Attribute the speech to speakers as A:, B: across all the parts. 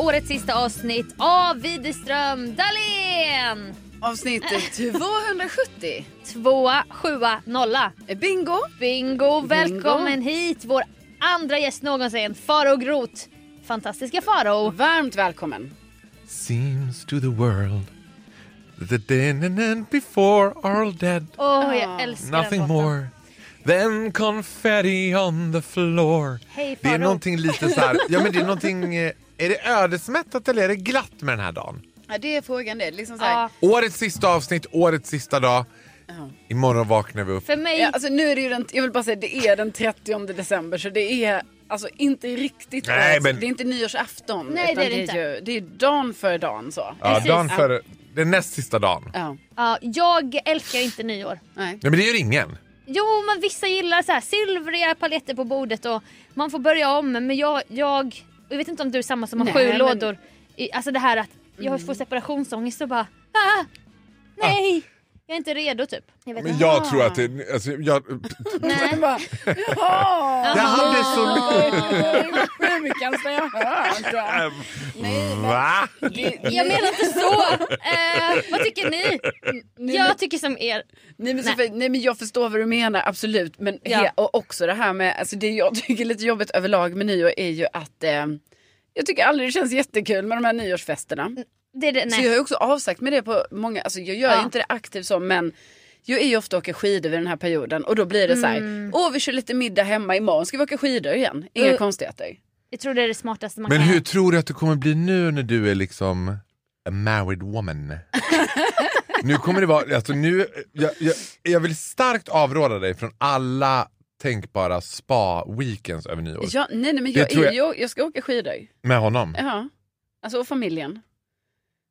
A: årets sista avsnitt av Widerström Dahlén!
B: Avsnitt 270.
A: Tvåa, sjua, nolla.
B: Bingo.
A: Bingo! Välkommen hit vår andra gäst någonsin, Faro Groth. Fantastiska Faro.
B: Varmt välkommen.
C: Seems to the world that then and then before are dead.
A: Åh, jag älskar
C: Nothing
A: den låten.
C: more than confetti on the floor.
A: Hej,
C: det är
A: Faro.
C: någonting lite så här, ja men det är någonting, eh, är det ödesmättat eller är det glatt med den här dagen?
B: Ja, det är frågan det. Liksom så här.
A: Ja,
C: Årets sista avsnitt, årets sista dag. Imorgon vaknar vi upp.
A: för mig,
B: Ja, alltså, nu är det ju den, jag vill bara säga det är den 30 december så det är alltså inte riktigt
C: Nej,
B: årets-
C: men-
B: Det är inte nyårsafton.
A: Nej, det
B: utan
A: är det inte.
B: Ju, det är ju dagen för dagen så.
C: Ja,
A: precis.
C: dagen före, den näst sista dagen.
B: Ja.
A: ja, jag älskar inte nyår.
B: Nej.
C: Nej men det gör ingen.
A: Jo, men vissa gillar så här silvriga paletter på bordet och man får börja om. Men jag, jag, jag vet inte om du är samma som har
B: Nej,
A: sju
B: men-
A: lådor. I- Alltså det här att jag får separationsångest och bara ah, nej, jag är inte redo typ. Jag vet
C: Men
A: inte.
C: jag tror att det, alltså, jag,
A: Nej.
B: Bara, Jaha!
C: det hade så...
B: Det är mycket jag hört.
C: Va?
A: Jag menar inte så! Eh, vad tycker ni? Jag tycker som er.
B: Nej men, Sofie, nej men jag förstår vad du menar absolut. Men
A: Ja.
B: he- och också det här med, alltså det jag tycker är lite jobbigt överlag med nyår är ju att eh, jag tycker aldrig det känns jättekul med de här nyårsfesterna.
A: Det, är det,
B: Så jag
A: nej.
B: har ju också avsagt med det på många, alltså jag gör
A: Ja.
B: ju inte det aktivt så men jag är ju ofta och åker skidor vid den här perioden och då blir det så
A: Mm.
B: här, åh vi kör lite middag hemma imorgon, ska vi åka skidor igen? Inga
A: Uh.
B: konstigheter.
A: jag tror det är det smartaste man
C: Men
A: kan
C: hur
A: göra.
C: tror du att det kommer bli nu när du är liksom a married woman? nu kommer det vara, alltså nu, jag, jag, jag vill starkt avråda dig från alla tänkbara spa-weekends över nyår.
B: Ja, nej, nej men
C: Det
B: jag,
C: tror
B: jag.
C: jag-
B: Jag, jag ska åka skidor.
C: Med honom.
B: Ja. Alltså och familjen.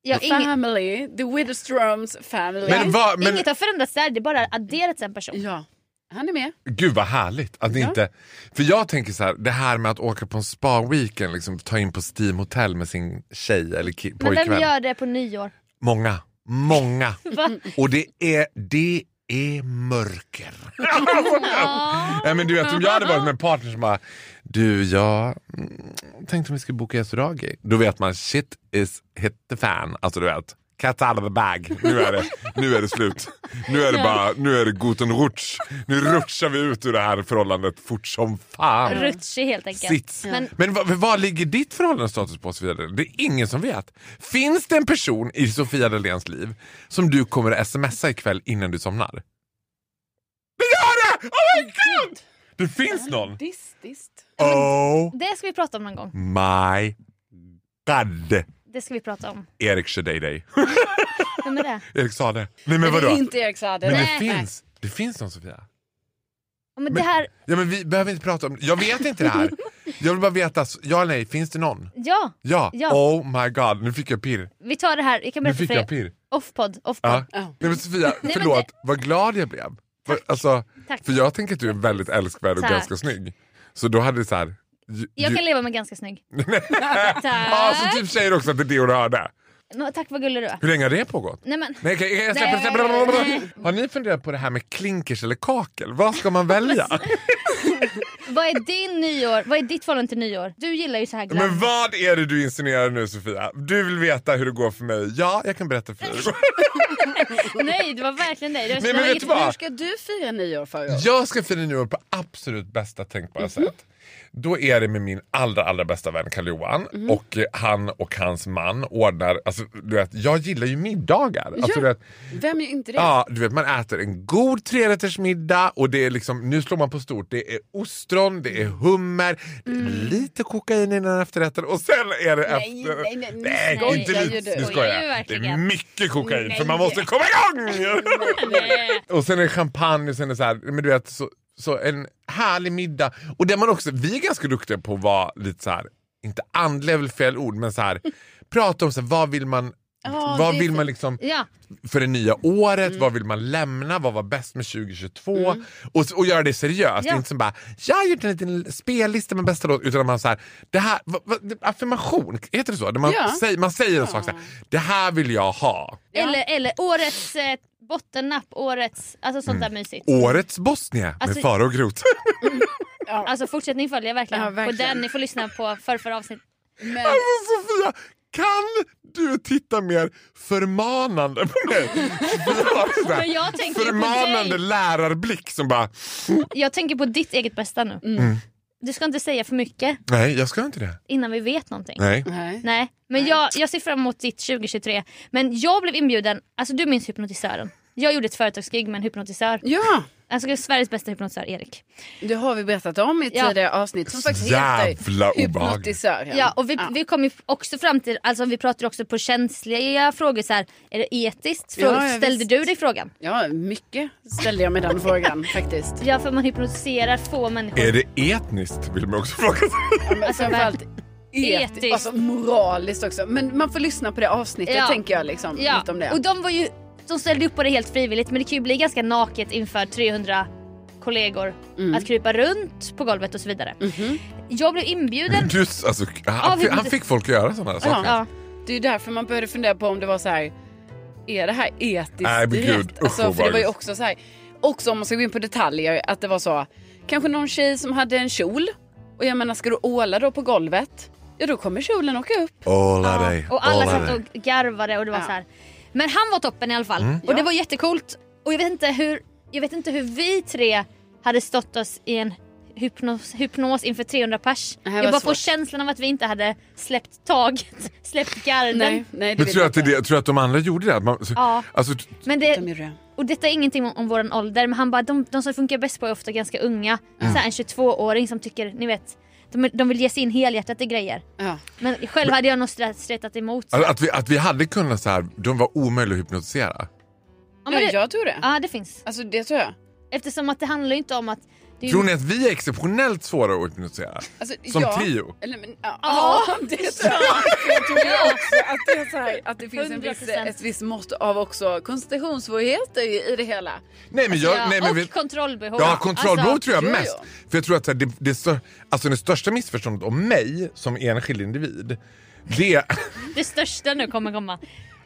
A: Jag, har ing,
B: Family, the Witherstroms family.
C: Men, vad- men
A: Inget har förändrats där, det är bara adderats en person.
B: Ja, han är med.
C: gud vad härligt att ni
B: Ja.
C: inte, för jag tänker så här, det här med att åka på en spa-weekend, liksom, ta in på Steam Hotel med sin tjej eller ki-
A: Men vem
C: pojkvän.
A: gör det på nyår?
C: Många, många.
A: Va?
C: Och det är, det är mörker.
A: Ja.
C: Nej, men du vet, om jag hade varit med en partner som bara, du jag mm, tänkte om vi skulle boka yasuragi. Då vet man shit is hit the fan. Alltså du vet, cat out of the bag. Nu är det, nu är det slut. Nu är det bara, nu är det guten rutsch. Nu rutschar vi ut ur det här förhållandet fort som fan.
A: Rutschig helt enkelt.
C: Sits.
A: Men-
C: Men, vad, vad ligger ditt förhållandestatus på Sofia Dalén? Det är ingen som vet. Finns det en person i Sofia Daléns liv som du kommer att smsa ikväll innan du somnar? Det gör det! Oh my god! Det finns någon!
B: Distiskt.
C: Oh
A: Det ska vi prata om någon gång.
C: my god!
A: Det ska vi prata om.
C: Erik Shadayday.
A: Vem är det?
C: Erik sa det. Nej men
B: Det är
C: vadå?
B: inte Erik Saade.
C: Men
A: Nej.
C: det finns. Det finns någon Sofia.
A: Ja, men det här,
C: Ja men vi behöver inte prata om Jag vet inte det här. Jag vill bara veta, ja eller nej, finns det någon?
A: ja,
C: Ja.
A: Ja.
C: Oh my god, nu fick jag pirr.
A: vi tar det här. Jag kan
C: Nu
A: berätta
C: fick
A: för
C: jag
A: er.
C: pirr.
A: Offpod. offpod.
C: Ja.
B: Ja.
C: Nej men Sofia,
A: men
C: förlåt. Vad glad jag blev. Vad- Alltså,
A: Tack.
C: för jag tänker att du är väldigt älskvärd och
A: Tack.
C: ganska snygg. Så då hade det så här... ju-
A: Jag
C: ju-
A: kan leva med ganska snygg.
C: Ja,
A: Tack.
C: så typ säger också att det är det hon hörde.
A: Nå, Tack vad gullig du är.
C: Hur länge har det pågått?
A: Nej men,
C: Nej, okej, jag släpper,
A: Nej.
C: släpper. Har ni funderat på det här med klinkers eller kakel? Vad ska man välja?
A: vad är din nyår? Vad är ditt förhållande till nyår? Du gillar ju så här glatt.
C: Men vad är det du insinuerar nu Sofia? Du vill veta hur det går för mig. Ja, jag kan berätta för dig. hur det går.
A: Nej det var verkligen dig. Det var,
C: Nej,
A: det
C: men
A: var
C: vet
A: inget-
C: du vad?
B: Hur ska du fira nyår för år?
C: Jag ska fira nyår på absolut bästa tänkbara
B: Mhm.
C: sätt. Då är det med min allra, allra bästa vän Karl Johan
B: Mhm.
C: och eh, han och hans man ordnar, alltså du vet, jag gillar ju middagar. Alltså,
B: Ja.
C: du vet,
B: Vem är inte det?
C: Ja, du vet man äter en god trerättersmiddag och det är liksom, nu slår man på stort. Det är ostron, det är hummer, det är lite kokain i den här efterrätten och sen är det
B: Mm. Nej,
C: efter...
B: nej, nej, nu
A: skojar
C: inte
A: ju
C: lite.
B: du.
C: Nu
A: Skojar
C: skojar
A: ju
C: jag. Det är
A: verkligen.
C: mycket kokain
B: Nej.
C: för man måste komma igång!
A: Nej.
C: och sen är det champagne och sen är det så här, men du vet, så, så en härlig middag. Och där man också, vi är ganska duktiga på att vara lite så här, inte andliga är väl fel ord, men så här, prata om så här, vad vill man,
B: Ja,
C: vad
B: det är
C: vill man
B: fint. Mm.
C: liksom
A: Ja,
C: för det nya året, vad vill man lämna, vad var bäst med 2022 och, s- och göra det seriöst.
A: Ja.
C: Inte som bara, jag har gjort en liten spellista med bästa låt utan att man så här, det här, va, va, affirmation, heter det så? När man,
B: Ja.
C: säger, man säger en sak så här, det här vill jag ha.
B: Ja.
A: Eller, eller årets eh, bottennapp, årets, alltså sånt
C: Mm.
A: där mysigt.
C: Årets Bosnien
A: Alltså-
C: med Farao och Groth.
A: Alltså fortsättning följer verkligen.
B: Ja, verkligen.
A: På den, ni får lyssna på förra avsnittet.
B: Men,
C: Alltså Sofia, kan du titta mer förmanande på mig? Vi har så här
A: Men jag tänker ju på
C: förmanande
A: dig.
C: lärarblick som bara,
A: Jag tänker på ditt eget bästa nu.
C: Mm.
A: Du ska inte säga för mycket
C: nej jag ska inte det.
A: innan vi vet någonting.
C: Nej.
B: nej.
A: Nej, men jag, jag ser fram emot ditt 2023. Men jag blev inbjuden, alltså du minns hypnotisören. Jag gjorde ett företagsgig med en hypnotisör.
B: Ja,
A: Alltså Sveriges bästa hypnotisör, Erik.
B: det har vi berättat om i
A: Ja.
B: tidigare avsnitt som faktiskt
C: Jävla
B: heter
C: obehagligt.
B: Hypnotisören.
A: Ja, och vi, vi kom ju också fram till, alltså vi pratade också på känsliga frågor så här, är det etiskt? Frågor,
B: Ja, ja,
A: ställde
B: visst.
A: du dig frågan?
B: Ja, mycket ställde jag mig den frågan faktiskt.
A: Ja, för man hypnotiserar få människor.
C: Är det etniskt vill man också fråga sig.
B: Men framförallt etiskt,
A: Etiskt.
B: alltså moraliskt också. Men man får lyssna på det avsnittet
A: Ja.
B: tänker jag liksom.
A: Ja,
B: Lite om det.
A: och de var ju, de ställde upp på det helt frivilligt men det kan ju bli ganska naket inför 300 kollegor
B: Mm.
A: att krypa runt på golvet och så vidare.
B: Mhm.
A: Jag blev inbjuden.
C: Du, alltså,
A: Ja,
C: han,
A: vi-
C: fick- han fick folk att göra sådana saker.
A: Ja.
B: Det är ju därför man började fundera på om det var så här. Är det här etiskt
C: Nej, men gud,
B: rätt?
C: usch,
B: Alltså, för det var ju
C: obehagligt.
B: också så här. Också om man ska gå in på detaljer. Att det var så. Kanske någon tjej som hade en kjol. Och jag menar ska du åla då på golvet. Ja då kommer kjolen åka upp.
C: Åla
A: Ja,
C: dig.
A: Och alla
C: åla
A: satt
C: dig.
A: och garvade och det var
B: Ja.
A: så här. Men han var toppen i alla fall och det var jättecoolt. Och jag vet inte hur, jag vet inte hur vi tre hade stått oss i en hypnos, hypnos inför 300 pers.
B: Det här
A: jag
B: var
A: bara får
B: svårt.
A: känslan av att vi inte hade släppt taget, släppt garden.
B: Nej, nej det vill
C: Men tror du
B: jag
C: att, det,
B: inte.
C: tror du att de andra gjorde det? Att Man, så-
A: Ja.
C: alltså, t-
A: Men det,
B: De gjorde det.
A: Och detta är ingenting om, om vår ålder men han bara de, de som funkar bäst på är ofta ganska unga. Så här, en 22-åring som tycker, ni vet, de, de vill ge sig in helhjärtat i grejer.
B: Ja.
A: Men själv hade jag nog stre- stretat emot.
C: att, att, vi, att vi hade kunnat så här, de var omöjliga att hypnotisera.
A: Ja,
B: ja,
A: men det,
B: jag tror det.
A: ja det finns.
B: Alltså det tror jag.
A: Eftersom att det handlar ju inte om att... Det är ju-
C: Tror ni att vi är exceptionellt svåra att hypnotisera?
B: Alltså,
C: Som
B: ja.
C: trio?
B: Eller, men, ja, ja, det tror jag. Jag tror det också att det, är så här, att det finns en viss,
A: 100%.
B: ett visst mått av också koncentrationssvårigheter i i det hela.
C: Nej men jag...
A: Alltså, ja,
C: nej, men
A: och
C: vi,
A: kontrollbehov.
C: Ja, kontrollbehov
A: Alltså,
C: tror jag
B: jo, jo.
C: mest. För jag tror att så här, det, det, stör, alltså, det största missförståndet om mig som enskild individ, det...
A: Det största nu kommer komma.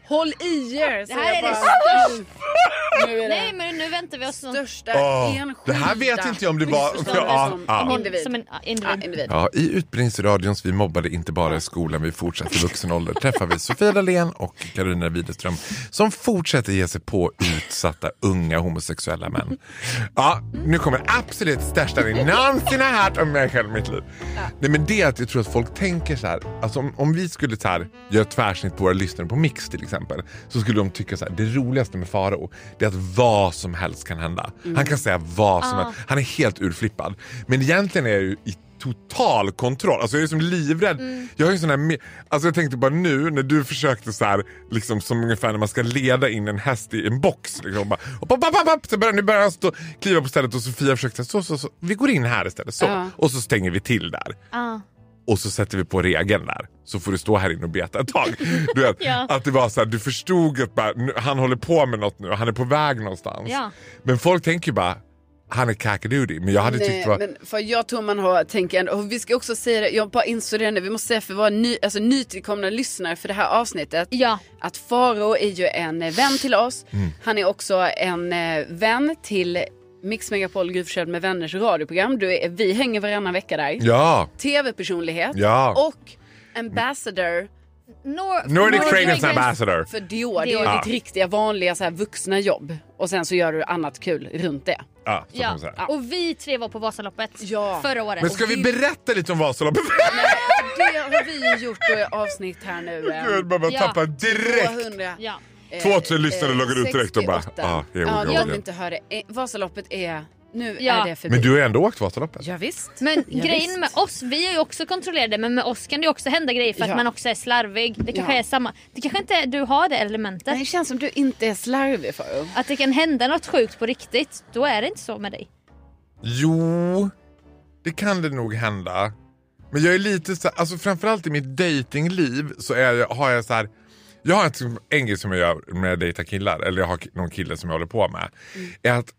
B: Håll i er! säger
A: här
B: jag
A: är det
B: bara. Nu är det
A: Nej men nu väntar vi oss som,
B: största
C: Åh,
B: enskilda
C: det här vet inte jag om det var-
B: missförståndet
C: Ja,
B: som
C: ja.
B: individ.
A: som en ja,
B: Ja,
A: individ.
B: individ.
C: Ja, I Utbildningsradions Vi mobbade inte bara i skolan, vi fortsatte i vuxen ålder träffar vi Sofia Dalén och Karolina Widerström som fortsätter ge sig på utsatta unga homosexuella män. Ja, nu kommer det absolut största ni någonsin har hört om mig själv i mitt liv. Nej, men det är att jag tror att folk tänker så här, alltså om, om vi skulle så här, göra tvärsnitt på våra lyssnare på Mix till exempel så skulle de tycka så här, det roligaste med Faro det är att vad som helst kan hända. Han kan säga vad som
A: Ah.
C: helst, han är helt urflippad. Men egentligen är jag ju i total kontroll. Alltså jag är som livrädd.
A: Mm.
C: Jag, har ju sån här, me- alltså jag tänkte bara nu när du försökte så här, liksom som ungefär när man ska leda in en häst i en box. Liksom, bara, och pop, pop, pop, pop, så börjar, nu börjar han stå, kliva på stället och Sofia försökte så, så, så, vi går in här istället. Så.
B: Ja.
C: Och så stänger vi till där.
A: Ja.
C: Och så sätter vi på regeln där. Så får du stå här inne och beta ett tag. Du vet,
A: Ja.
C: Att det var så här, du förstod att bara, nu, han håller på med något nu. Han är på väg någonstans.
A: Ja.
C: Men folk tänker ju bara, han är kakadudi. Men jag hade tyckt
B: Nej,
C: det var...
B: men för jag tror man har tänkt ändå, och vi ska också säga det, jag bara insåg det nu, vi måste säga för våra ny, alltså, nytillkomna lyssnare för det här avsnittet
A: Ja.
B: att Faro är ju en eh, vän till oss.
C: Mm.
B: Han är också en eh, vän till Mix Megapol Gry Forssell med vänners radioprogram. Du är, vi hänger varannan vecka där.
C: Ja.
B: Tv-personlighet
C: Ja.
B: och ambassador
A: Nor-
C: Nordic Fragrance
A: Fragrance.
C: Ambassador.
B: för Dior. Det är
A: Dior.
B: ju ditt riktiga vanliga så här, vuxna jobb. Och sen så gör du annat kul runt det.
C: Ja, så kan man
A: Ja.
C: säga.
A: Och vi tre var på Vasaloppet
B: Ja.
A: förra året.
C: Men ska vi berätta lite om Vasaloppet?
B: Det har vi ju gjort då i avsnitt här nu. eh,
C: Gud, man bara
A: Ja.
C: tappar direkt.
B: 200.
A: Ja.
C: 2000 lyssnare loggar ut direkt och bara,
B: 68.
C: ah, here we
B: eh, ja,
C: go
B: de
C: again.
B: vill inte höra det. Eh, Vasaloppet är, nu
A: Ja.
B: är det förbi.
C: Men du har ändå åkt Vasaloppet.
B: Ja, visst.
A: Men
B: Ja,
A: grejen med
B: visst.
A: oss, vi är ju också kontrollerade men med oss kan det ju också hända grejer för att
B: Ja.
A: man också är slarvig. Det kanske
B: Ja.
A: är samma. Det kanske inte är, du har det elementet.
B: Nej, Det känns som du inte är slarvig för.
A: Att det kan hända något sjukt på riktigt, då är det inte så med dig.
C: Jo, det kan det nog hända. Men jag är lite så alltså framförallt i mitt datingliv så är jag, har jag så här. Jag har ett som- en grej som jag gör när jag dejtar killar, eller jag har ki- någon kille som jag håller på med. Är att,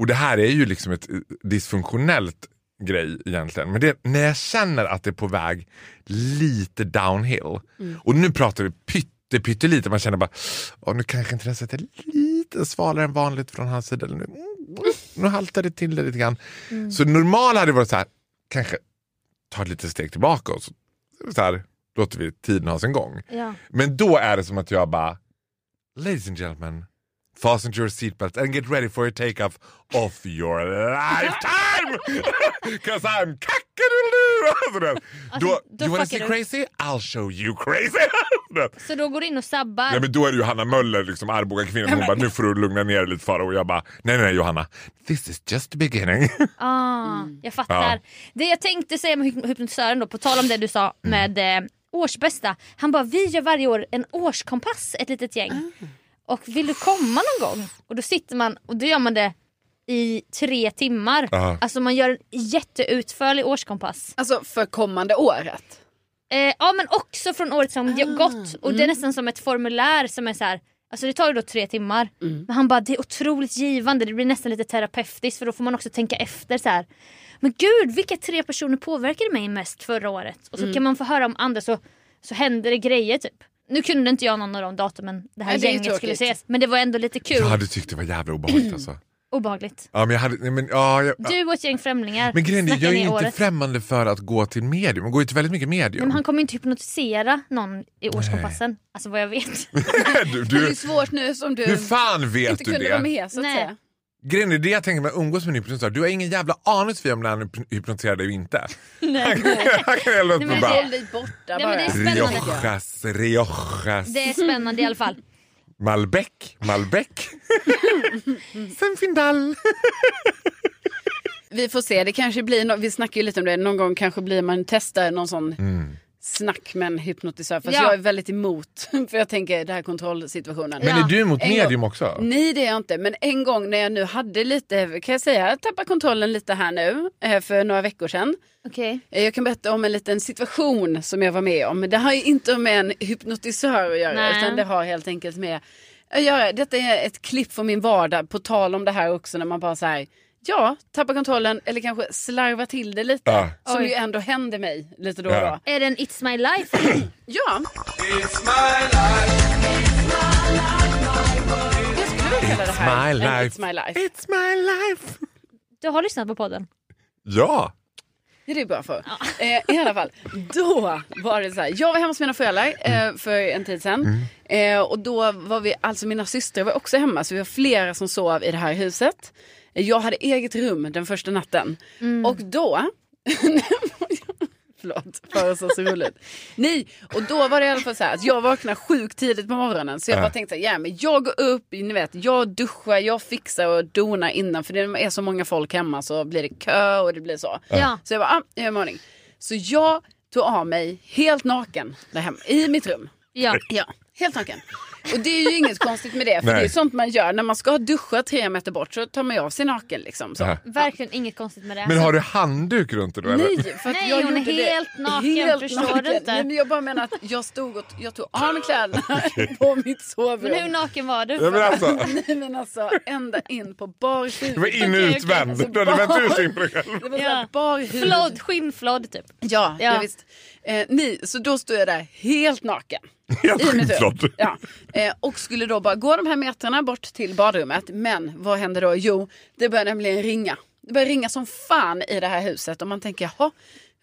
C: och det här är ju liksom ett eh, dysfunktionellt grej egentligen. Men det, när jag känner att det är på väg lite downhill. Och nu pratar vi pytte, pyttelite. Man känner bara, "Åh, nu kanske intresset är lite svalare än vanligt från hans sida. Eller nu, mm, nu haltar det till det lite grann.
A: Mm.
C: Så normalt hade det varit så här, kanske ta ett litet steg tillbaka och så, så här, låter vi tiden ha sin gång.
A: Ja.
C: Men då är det som att jag bara, ladies and gentlemen, fasten your seatbelt and get ready for a take-off of your lifetime! Cause I'm cackadoodle! Alltså, den. då,
A: då
C: you
A: fuckar
C: wanna see
A: du."
C: crazy? I'll show you crazy! Den.
A: Så då går du in och sabbar.
C: Ja, men då är det ju Hanna Möller, liksom Arboga kvinnan. Hon bara, nu får du lugna ner dig lite Farao. Och jag bara, nej nej nej, Johanna, this is just the beginning.
A: Ah, Jag fattar.
C: Ja.
A: Det jag tänkte säga med hyp- hypnotisören då, på tal om det du sa
C: Mm.
A: med eh, årsbästa. Han bara, vi gör varje år en årskompass, ett litet gäng. Och vill du komma någon gång? Och då sitter man och då gör man det i tre timmar.
C: Ja.
A: Alltså man gör en jätteutförlig årskompass.
B: Alltså för kommande året.
A: Eh, ja men också från året som
B: Ah,
A: gått. Och
B: mm.
A: det är nästan som ett formulär som är så här. Alltså det tar ju då tre timmar.
B: Mm.
A: Men han bara det är otroligt givande, det blir nästan lite terapeutiskt för då får man också tänka efter så här. Men gud vilka tre personer påverkade mig mest förra året? Och så
B: Mm.
A: kan man få höra om andra så, så händer det grejer typ. Nu kunde inte jag någon av de datumen det här
B: Nej, det är ju
A: gänget skulle
B: tråkigt.
A: ses. Men det var ändå lite kul.
C: Jag hade tyckt det var jävla obehagligt alltså.
A: Obehagligt.
C: Ja, men jag hade, nej, men, ja, jag,
A: Du och ett gäng främlingar
C: men grejen är,
A: snackar
C: jag är
A: ni i
C: ju inte
A: året.
C: främmande för att gå till medium. Man går ju till väldigt mycket medium.
A: Men han kommer ju inte hypnotisera någon i årskompassen. Alltså vad jag vet.
C: du,
B: Det är
C: du,
B: ju svårt nu som du
C: hur fan vet
B: inte
C: du
B: kunde
C: det?
B: vara med så att
A: Nej.
B: säga.
C: Grejen är det jag tänker med att umgås med en hypnotisör. Du har ingen jävla aning Sofia om när han hyp- hypnotiserar dig och inte. Han kan- han kan hälla upp
A: Nej,
C: och
A: men
C: bara
B: Håll dig borta
A: Nej, men
B: bara.
A: det är spännande.
C: Riojas, Riojas,
A: Det är spännande i alla fall.
C: Malbec, Malbec. Zinfandel.
B: Vi får se, det kanske blir nå- vi snackar ju lite om det, någon gång kanske blir man testar någon sån
C: Mm.
B: snack med en hypnotisör. Fast
A: Ja.
B: jag är väldigt emot, för jag tänker den här kontrollsituationen.
C: Men är du emot
B: En gång.
C: medium också?
A: Mm.
B: Nej det är jag inte, men en gång när jag nu hade lite, kan jag säga, jag tappade kontrollen lite här nu eh, för några veckor sedan.
A: Okej.
B: Eh, Jag kan berätta om en liten situation som jag var med om. Det har ju inte med en hypnotisör att göra
A: Nej.
B: utan det har helt enkelt med att göra. Detta är ett klipp från min vardag, på tal om det här också när man bara så här, ja, tappar kontrollen eller kanske slarvar till det lite.
C: Ja.
B: Som
A: Oj.
B: ju ändå händer mig lite då och
C: Ja.
B: då.
A: Är den It's My Life?
B: Ja, jag skulle vilja kalla det här en It's My Life.
C: It's my life.
A: Du har lyssnat på podden?
C: Ja.
B: Det är det bra för. Eh, I alla fall, då var det så här. Jag var hemma hos mina föräldrar eh, för en tid sedan. Eh, och då var vi, alltså mina systrar var också hemma så vi var flera som sov i det här huset. Eh, Jag hade eget rum den första natten. Och då... Förlåt, för så, så roligt. Nej, och då var det i alla fall så här att jag vaknade sjukt tidigt på morgonen. Så jag bara
C: Ja.
B: tänkte så här, ja men jag går upp, ni vet, jag duschar, jag fixar och donar innan. För det är så många folk hemma så blir det kö och det blir så.
A: Ja.
B: Så jag bara, ah, jag gör mig i ordning. Så jag tog av mig helt naken där hemma, i mitt rum.
A: Ja.
B: Ja, helt naken. Och det är ju inget konstigt med det, för
C: Nej.
B: det är sånt man gör. När man ska duscha tre meter bort så tar man ju av sig naken liksom. Så.
C: Ja.
A: Verkligen inget konstigt med det.
C: Men har du handduk runt dig då? eller?
B: Nej, för att
A: Alltså- Nej,
B: jag
A: hon är
B: gjorde
A: helt
B: det.
A: naken, förstår du inte? Ah!
B: Nej, men jag bara menar att jag stod och jag tog av mig kläderna på mitt sovrum.
A: Men hur naken var du?
C: Ja, men alltså,
B: Nej men alltså ända in på bar huvud.
C: du var in och
A: Okej, okej.
C: utvänd. Du hade vänt ut in på dig själv.
B: Det var så
A: Ja.
B: här, bar huvud.
A: Flod, skinnflod typ.
B: Ja,
A: Ja.
B: ja. visst. Eh, nej, så då stod jag där helt naken.
C: Helt
B: I mitt rum.
C: skinnflod.
B: Ja. Eh, och skulle då bara gå de här metrarna bort till badrummet. Men vad hände då? Jo, det började nämligen ringa. Det började ringa som fan i det här huset. Och man tänker, jaha,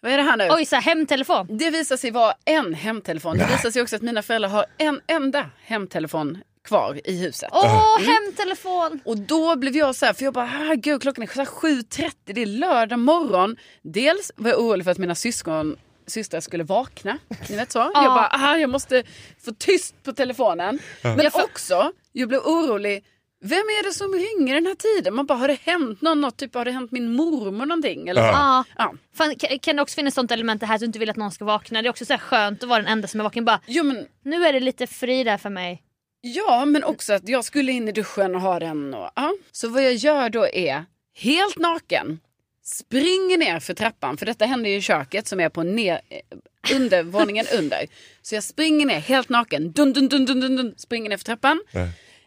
B: vad är det här nu?
A: Oj, så här, hemtelefon.
B: Det visar sig vara en hemtelefon. Det visar sig också att mina föräldrar har en enda hemtelefon kvar i huset.
C: Ah.
A: Åh, Mm. hemtelefon!
B: Och då blev jag så här, för jag bara, herregud klockan är så här 7.30, det är lördag morgon. Dels var jag orolig för att mina syskon systrar skulle vakna. Ni vet så. Jag bara, ah, jag måste få tyst på telefonen. Men också, jag blev orolig, vem är det som ringer den här tiden? Man bara, har det hänt någon, något? Typ, har det hänt min mormor någonting? Eller så.
C: Ja.
A: Ja.
B: Ja.
A: Fan, ka- kan det också finnas sånt element här att du inte vill att någon ska vakna? Det är också så här skönt att vara den enda som är vaken. Bara,
B: Jo, men,
A: nu är det lite fri där för mig.
B: ja, men också att jag skulle in i duschen och ha den. Och, ja. Så vad jag gör då är, helt naken, springer ner för trappan, för detta händer ju i köket som är på ner, eh, under, våningen under. Så jag springer ner helt naken, dun, dun, dun, dun, dun, dun, springer ner för trappan.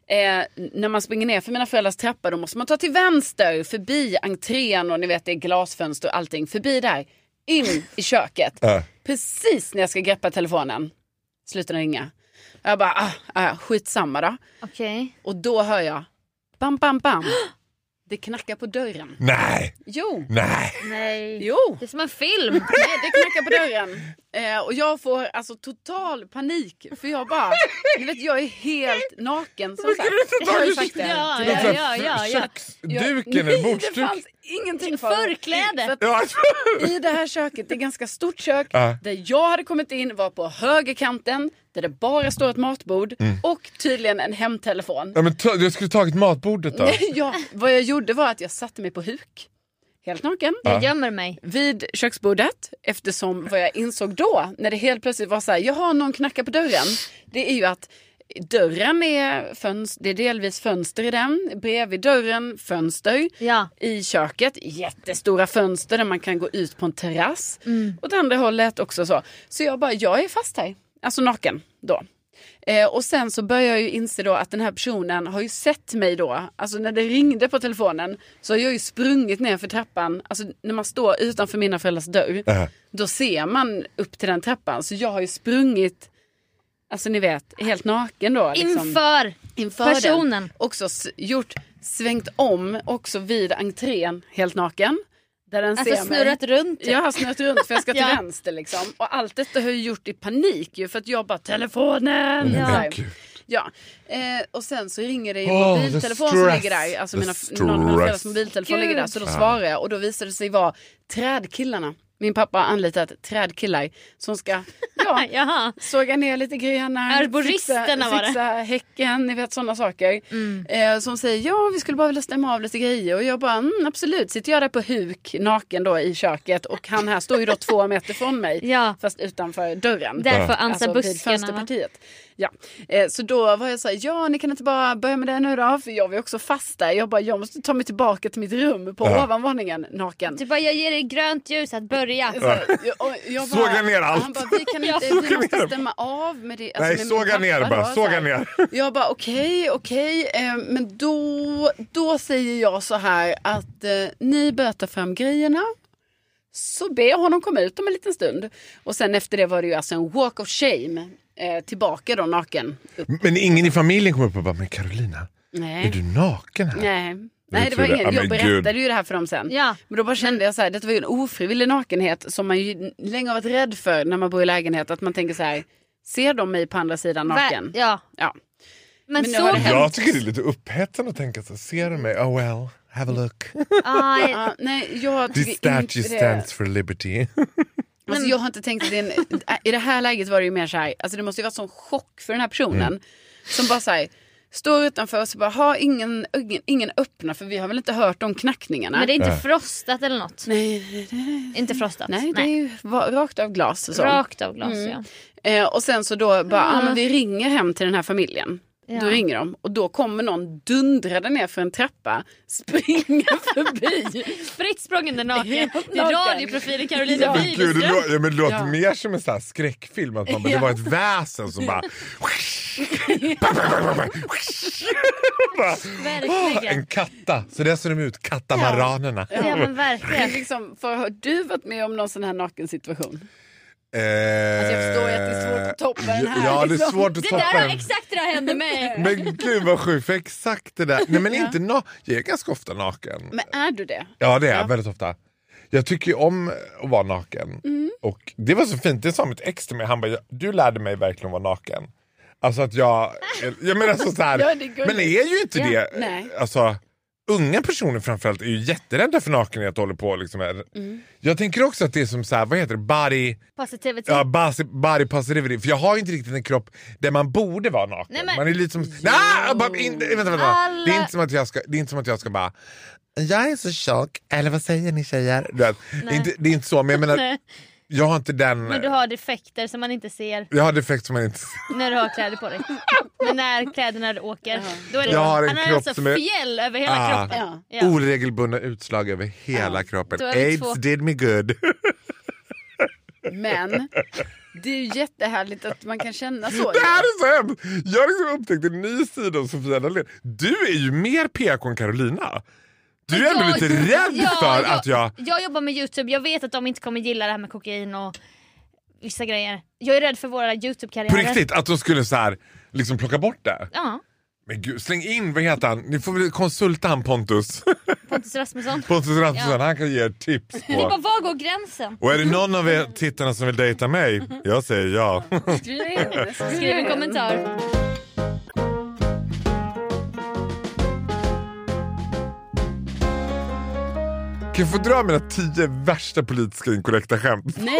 B: Eh, när man springer ner för mina föräldrars trappa då måste man ta till vänster förbi entrén och ni vet det är glasfönster och allting. Förbi där, in i köket.
C: Ja.
B: Precis när jag ska greppa telefonen slutar den ringa. Jag bara, ah, ah, skitsamma då.
A: Okej.
B: Och då hör jag bam, bam, bam. Det knackar på dörren.
C: Nej,
B: Jo,
C: nej.
A: Nej.
B: jo.
A: Det är som en film.
B: Nej, det knackar på dörren. Eh, och jag får alltså total panik. För jag bara, du vet jag är helt naken som sagt. Jag har ju sagt det.
A: Ja,
C: Det är så
A: ja,
C: här
A: ja, ja, ja.
B: Jag-
C: Köksduken
B: Nej,
C: eller
B: Det
C: bordsduk.
B: fanns ingenting för
A: Förkläde.
B: Så att
C: Ja, alltså.
B: I det här köket, det är ett ganska stort kök.
C: Ja.
B: Där jag hade kommit in var på högerkanten. Där det bara står ett matbord. Och tydligen en hemtelefon.
C: Mm. ja, men ta, jag skulle tagit matbordet då.
B: ja, vad jag gjorde var att jag satte mig på huk. Helt naken.
C: Ah.
A: Jag gömmer mig.
B: vid köksbordet eftersom vad jag insåg då när det helt plötsligt var så här, jaha någon knackar på dörren. Det är ju att dörren är, fönster, det är delvis fönster i den, bredvid dörren fönster.
A: Ja.
B: I köket, jättestora fönster där man kan gå ut på en terrass. Åt andra hållet också så. Så jag bara, jag är fast här. Alltså naken då. Eh, och sen så börjar jag ju inse då att den här personen har ju sett mig då. Alltså när det ringde på telefonen så har jag ju sprungit ner för trappan. Alltså när man står utanför mina föräldrars dörr.
C: Äh.
B: Då ser man upp till den trappan. Så jag har ju sprungit, alltså ni vet, helt naken då. liksom
A: Inför.
B: inför
A: Personen.
B: den också s- gjort, svängt om också vid entrén helt naken. Där den
A: Alltså
B: ser mig.
A: snurrat runt.
B: Jag har snurrat runt för jag ska till
A: Ja.
B: vänster liksom. Och allt detta har jag gjort i panik ju för att jag bara telefonen!
A: Ja.
B: Så
C: Mm, Men
B: här.
C: gud.
B: ja. Eh, och sen så ringer det i
C: Oh,
B: mobiltelefon
C: the
B: som
C: stress.
B: ligger där. Alltså
C: The
B: mina, någon av mina
C: stress.
B: föräldrars mobiltelefon ligger där. Så då
C: Gud.
B: svarar jag och då visar det sig vara trädkillarna. Min pappa har anlitat trädkillar som ska ja,
A: Jaha.
B: såga ner lite grenar,
A: Arboristerna
B: fixa,
A: var det. Mm.
B: fixa häcken, ni vet sådana saker. Eh, som säger ja, vi skulle bara vilja stämma av lite grejer och jag bara mm, absolut, sitter jag där på huk naken då i köket och han här står ju då två meter från mig
A: Ja.
B: fast utanför dörren.
C: Ah.
B: Alltså
A: Därför ansar
B: vid
A: buskarna. va?
B: fönsterpartiet. Ja. Eh, så då var jag så här, ja ni kan inte bara börja med det nu då, för jag var ju också fast där. Jag bara, jag måste ta mig tillbaka till mitt rum på
C: Ja.
B: ovanvåningen naken.
A: Du bara, jag ger dig grönt ljus att börja.
B: Så, jag, och jag bara,
C: Såga ner allt.
B: Han bara, vi kan inte,
A: Ja.
B: vi måste stämma av med det.
C: Nej,
B: med min
C: såga
B: pappa
C: ner
B: då,
C: bara,
B: så här.
C: såga ner.
B: Jag bara, okej, okej. eh, men då, då säger jag så här att eh, ni börjar ta fram grejerna. Så ber jag honom komma ut om en liten stund. Och sen efter det var det ju alltså en walk of shame. Eh, tillbaka då naken. Upp.
C: Men ingen i familjen kommer upp och bara, men Carolina, är
B: Nej.
C: du naken här?
B: Nej. Nej, det
C: tror
B: var
C: det.
B: ingen.
C: Ja,
B: Jag
C: men
B: berättade
C: gud.
B: ju det här för dem sen.
A: Ja.
B: Men då bara kände jag så här, detta var ju en ofrivillig nakenhet som man ju länge har varit rädd för när man bor i lägenhet. Att man tänker så här, ser de mig på andra sidan naken?
A: Va- Ja.
B: Ja.
A: Men,
B: Men nu
A: så
B: har det
A: hemskt.
C: Jag tycker det är lite upphetsande att tänka så här, ser du mig? Oh well, have a look.
A: Aj,
B: Ja, nej, jag
C: This
B: tycker inte det.
C: statue stands for liberty.
B: Alltså, jag har inte tänkt att det är en, I det här läget var det ju mer så här, alltså det måste ju varit sån chock för den här personen.
C: Mm.
B: Som bara så här, står utanför och så bara, ha ingen, ingen, ingen öppna för vi har väl inte hört om knackningarna.
A: men det är inte
C: Nej.
A: frostat eller något?
B: nej,
A: Inte Mm. frostat?
B: nej, det är ju va- rakt av glas. och Så.
A: Rakt av glas ja.
B: Eh, och sen så då bara, ah, men vi ringer hem till den här familjen.
A: Ja.
B: Då ringer de och då kommer någon dundrade ner för en trappa, springer förbi.
A: Fritt språngande naken.
B: Helt
A: Det är
B: naken.
A: radioprofilen Carolina
B: Ja.
C: Men gud, det,
A: Widerström.
C: lå- ja, men det låter
B: Ja.
C: mer som en sån här skräckfilm. Att man bara,
B: Ja.
C: Det var ett väsen som bara... bara "Åh,
A: Verkligen.
C: en katta. Så där ser de ut, katamaranerna.
A: Ja men
B: Men
A: verkligen.
B: liksom, för, har du varit med om någon sån här naken situation?
C: Eh,
B: Alltså, jag förstår ju att det är svårt att toppa den här,
C: Ja, det är
B: liksom.
C: svårt att
A: Det
C: toppa
A: där har
C: den.
A: exakt det där hände mig.
C: Men gud vad sjukt, för exakt det där. Nej men inte na- Jag är ganska ofta naken.
B: Men är du det?
C: Ja det är jag
B: Ja.
C: väldigt ofta. Jag tycker ju om att vara naken.
B: Mm.
C: Och det var så fint, det sa mitt ex till mig, han bara du lärde mig verkligen att vara naken. Alltså att jag, jag menar alltså så, så här,
B: Ja, det är gulligt.
C: men är ju inte
A: Ja,
C: det,
B: nej.
C: alltså unga personer framförallt är ju jätterädda för nakenhet och håller på liksom här.
B: Mm.
C: Jag tänker också att det är som så här, vad heter det, body,
A: Positivitet.
C: ja, body, body positivity. För jag har ju inte riktigt en kropp där man borde vara naken.
A: Nej, men-
C: Man är lite som, nej, bara, inte, vänta, vänta.
A: Alla-
C: Det är inte som att jag ska, det är inte som att jag ska bara jag är så tjock, eller vad säger ni tjejer? Du vet,
A: Nej.
C: inte, det är inte så, men jag menar,
A: Nej,
C: jag har inte den...
A: Men du har defekter som man inte ser
C: Jag har defekt som man inte...
A: när du har kläder på dig. Men när kläderna åker. Då är det
C: Jag har en
A: han har
C: kropp
A: alltså
C: som är-
A: fjäll över hela
C: Ah.
A: kroppen.
B: Ja.
A: Ja.
C: Oregelbundna utslag över hela kroppen.
A: Då är vi
C: Aids
A: två.
C: did me good.
B: Men det är ju jättehärligt att man kan känna så.
C: det här är så hemskt! Jag har liksom upptäckt en ny sida av Sofia Dalén. Du är ju mer PK än Carolina. Du är ändå lite rädd för att jag...
A: Jag jobbar med Youtube, jag vet att de inte kommer gilla det här med kokain och vissa grejer. Jag är rädd för våra
C: På
A: Youtube-karriärer.
C: riktigt, att de skulle så här, liksom plocka bort det.
A: Ja.
C: Men gud, släng in, vad heter han? Ni får väl konsulta han Pontus.
A: Pontus Rasmusson.
C: Pontus Rasmusson, han kan ge er tips
A: Det är bara,
C: på.
A: var går gränsen?
C: Och är det någon av er tittarna som vill dejta mig? Jag säger ja.
B: Skriv in.
A: Skriv en kommentar.
C: Kan jag få dra mina tio värsta politiska inkorrekta skämt?
B: Nej,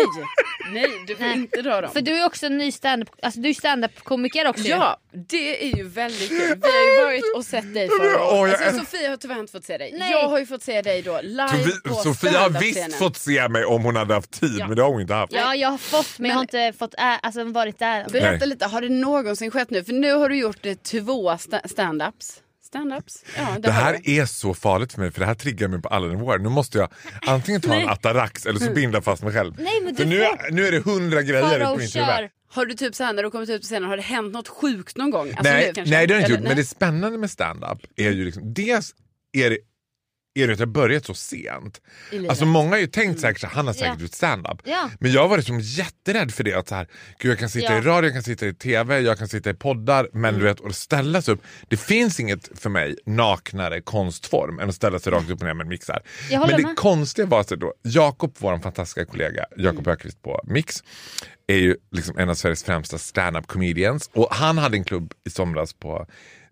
B: nej du får inte dra dem.
A: För du är också en ny stand-up, alltså du är stand-up-komiker också ju.
B: Ja, det är ju väldigt kul. Vi har ju varit och sett dig förra
C: Åh, jag
B: året. Alltså,
C: älskar-
B: Sofia har tyvärr inte fått se dig.
A: Nej.
B: Jag har ju fått se dig då live på
C: Sofi- Sofia har visst
B: standup-scenen.
C: fått se mig om hon hade haft tid, men det har hon inte haft.
A: Ja, jag har fått men jag har inte fått ä- alltså, varit där.
B: Berätta
C: Nej.
B: lite, har det någonsin skett nu? För nu har du gjort eh, två sta- stand-ups. Stand-ups? Ja,
C: Det
B: har
C: här
B: du.
C: är så farligt för mig, för det här triggar mig på alla nivåer. Nu måste jag antingen ta en atarax eller så binda fast mig själv.
A: Mm. Nej, men
C: för
A: du
C: nu,
A: får-
C: nu är det hundra
A: Fara
C: grejer på
A: och
C: mitt huvud.
A: kör.
B: Har du typ så här när du kommit ut på scenen, har det hänt något sjukt någon gång? Alltså
C: nej,
B: nu kanske?
C: nej, det har jag inte
B: Eller-
C: gjort. Men det spännande med stand-up är ju liksom, dels är det, är det att jag har börjat så sent.
B: I livet.
C: Alltså många har ju tänkt säkert att han har säkert
A: Ja.
C: gjort stand-up.
A: Ja.
C: Men jag har varit som jätterädd för det. Att så här, Gud, jag kan sitta
A: Ja.
C: i radio, jag kan sitta i tv, jag kan sitta i poddar. Men du vet, att ställa sig upp. Det finns inget för mig naknare konstform än att ställa sig rakt upp och ner med en mix. här.
A: Jag
C: Men
A: håller
C: det
A: med.
C: konstiga var att då, Jakob, vår fantastiska kollega,
A: Mm.
C: Jakob Högqvist på Mix, är ju liksom en av Sveriges främsta stand-up comedians. Och han hade en klubb i somras på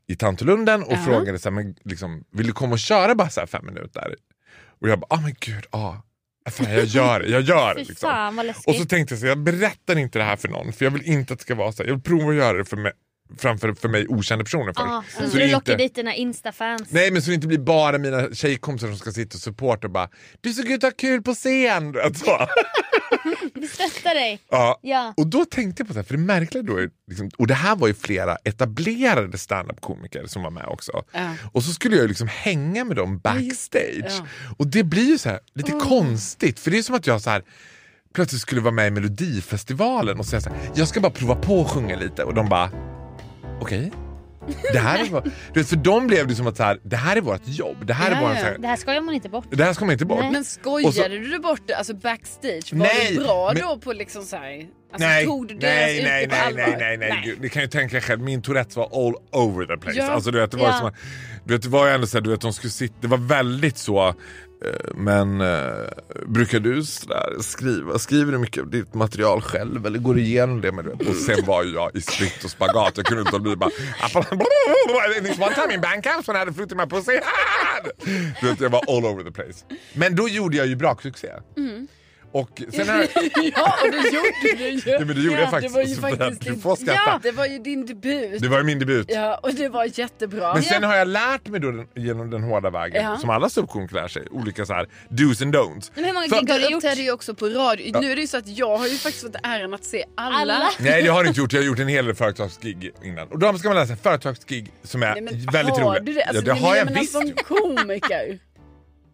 C: i Tantolunden och frågade så här, men, liksom, vill du komma och köra bara så här fem minuter? Och jag bara, ah men gud, ja. Fan, jag gör det, jag gör det.
A: Fy
C: Liksom.
A: fan vad
C: Och så
A: läskigt.
C: tänkte jag så här, jag berättar inte det här för någon för jag vill inte att det ska vara så här. Jag vill prova att göra det för mig, framför för mig okända personer först.
A: Ja, Ah, så
C: Så
A: inte
C: det
A: du
C: är
A: lockar
C: inte-
A: dit dina instafans.
C: Nej men så det inte blir bara mina tjejkompisar som ska sitta och supporta och bara du såg ut att ha kul på scen. Alltså, du vet så.
A: Vi stöttar dig.
C: ja.
A: Ja.
C: Och då tänkte jag på det här, för det märkliga då är, liksom, och det här var ju flera etablerade standup-komiker som var med också.
B: Ja.
C: Och så skulle jag ju liksom hänga med dem backstage.
B: Ja.
C: Och det blir ju så här lite konstigt, för det är som att jag så här plötsligt skulle vara med i Melodifestivalen och säga så här, jag ska bara prova på att sjunga lite. Och de bara, okej? Det här är vad- du vet, för dem blev det som att så här, det här är vårt jobb. Det här,
B: Ja,
C: är våran,
B: ja.
C: så här,
A: Det här skojar man inte bort.
C: det här ska man inte bort.
B: Men skojade
C: Mm. Och så-
B: du bort det? Alltså backstage, var
C: Nej,
B: du bra
C: men-
B: då på liksom så här, alltså, tog du deras
C: nej,
B: yrke
C: nej,
B: på
C: nej,
B: allvar?
C: nej, nej, nej, gud. Ni kan ju tänka er själv, min Tourettes var all over the place.
B: Ja.
C: Alltså, du vet, det var
A: Ja.
C: som, att- du vet, det var ju ändå så här, du vet, de skulle sitta, det var väldigt så, eh, men eh, brukar du så där skriva, skriver du mycket av ditt material själv eller går du igenom det med det? Och sen var ju jag i split och spagat, jag kunde inte låta bli bara, this one time in Bankhouse when I had a fruit in my pussy. Du vet, jag var all over the place. Men då gjorde jag ju braksuccé.
B: Mm.
C: Och sen har jag,
B: Ja, och det gjorde du ju.
C: Ja, men det gjorde jag faktiskt. Alltså,
B: Det var ju
C: Och så-
B: faktiskt
C: du
B: din-
C: får
B: Ja,
C: skratta.
B: det var ju din debut.
C: Det var ju min debut.
B: Ja, och det var jättebra.
C: Men sen har jag lärt mig då den, genom den hårda vägen,
B: Ja.
C: som alla ståuppkomiker lär sig, olika så här do's and don'ts.
A: Men hur många
C: För-
A: gig har du
B: Du
A: gjort?
B: uppträdde ju också på radio. Nu är det ju så att jag har ju faktiskt fått äran att se alla.
A: Alla?
C: Nej det har jag inte gjort, jag har gjort en hel del företagsgig innan. Och då ska man läsa företagsgig som är väldigt
B: har
C: roliga.
B: Du det? Alltså,
C: ja, det har jag
B: menar
C: visst.
B: Som komiker.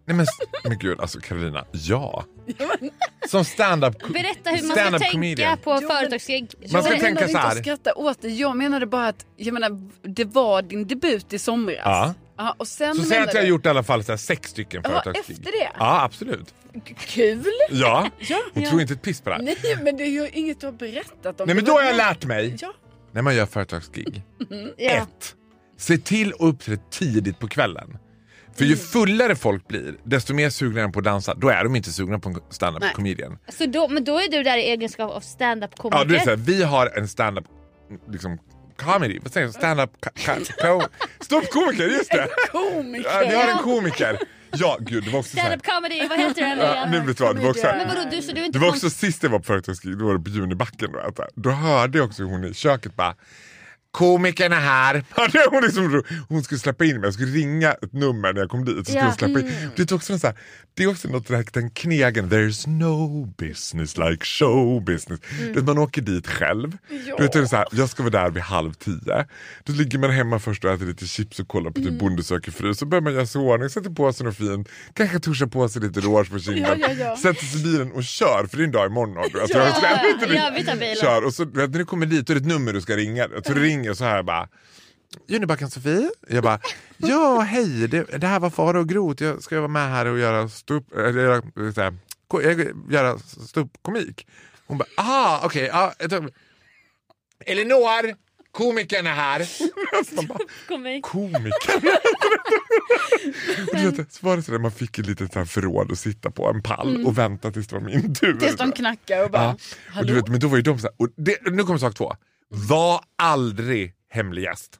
C: Nej, men, men gud alltså Carolina, ja. Som stand-up
A: Berätta hur man ska
C: stand-up
A: tänka
C: comedian.
A: på
B: men-
A: företagsgig.
C: Man ska
B: jag
C: tänka
B: menade
C: så
B: inte
C: här.
B: att skratta åt det. Jag menade bara att jag menar, det var din debut i somras.
C: Ja.
B: Ja, och sen
C: Så säg att
B: menar
C: jag har
B: du-
C: gjort i alla fall så här, sex stycken
B: Ja,
C: företagsgig.
B: efter det?
C: Ja absolut.
B: Kul!
C: Ja, hon tror inte ett piss på det här.
B: Nej, men det är ju inget du har berättat om.
C: Nej men
B: Det
C: då
B: var-
C: har jag lärt mig,
B: Ja.
C: när man gör företagsgig,
A: Mm-hmm. Ja.
C: Ett, se till att uppträda tidigt på kvällen. För
A: Mm.
C: ju fullare folk blir, desto mer sugna är de på att dansa. Då är de inte sugna på en stand-up
B: Nej.
C: comedian.
A: Så då, men då är du där i egenskap av
C: Ja, du är
A: standup-komiker.
C: såhär, vi har en stand-up liksom, comedy, vad säger jag? Stand-up ka- ka- ko- Ståuppkomiker, just det! Ja, vi
B: Komiker!
C: har en komiker. Ja, gud, det var också såhär.
A: Stand-up comedy, vad heter den?
C: Ja, nu vet du vad, det var också
A: Men
C: såhär.
A: vadå, du, så Alltså, du är
C: Det
A: inte
C: var
A: kon-
C: också sist jag var på företagsgig, då var det på Junibacken. Då, alltså. då hörde jag också hon i köket bara Komikern är här! Hörde jag? Hon, liksom, hon skulle släppa in mig, jag skulle ringa ett nummer när jag kom dit. Så skulle
A: Ja. Mm.
C: hon släppa in. Det, är också en så här, det är också något där, den knegen, there's no business like show business.
A: Mm.
C: Du vet, man åker dit själv. Du vet, det är så här, jag ska vara där vid halv tio. Då ligger man hemma först och äter lite chips och kollar på typ
A: Mm.
C: Bonde söker fru. Så börjar man göra sig i ordning, sätter på sig något fint, kanske tuschar på sig lite rouge på kinden.
B: Ja, ja, ja.
C: Sätter sig i bilen och kör, för det är en dag imorgon. Alltså,
A: Ja,
C: jag ska ändå inte
A: ja,
C: dit
A: vi tar bilen.
C: kör och så du vet, när du kommer dit då är det ett nummer du ska ringa. Så du ringer så här bara. Junibacken Sofie. Jag bara, ja hej, det, det här var Faro och Groth. Jag ska vara med här och göra stup, eller, göra, eh, så här, ko- eh, göra ståuppkomik. Hon bara, ah okej. ja, ett ögonblick." Elinor, komikern är här. Man bara,
A: Komik.
C: komikern. och du vet, så var det så där, man fick ett litet så här förråd att sitta på, en pall och vänta tills det var min tur.
B: Mm. Tills de knackar och bara...
C: Ja. Och du
B: Hallå?
C: vet, men då var ju de så här, och det, nu kommer sak två. Var aldrig hemlig gäst.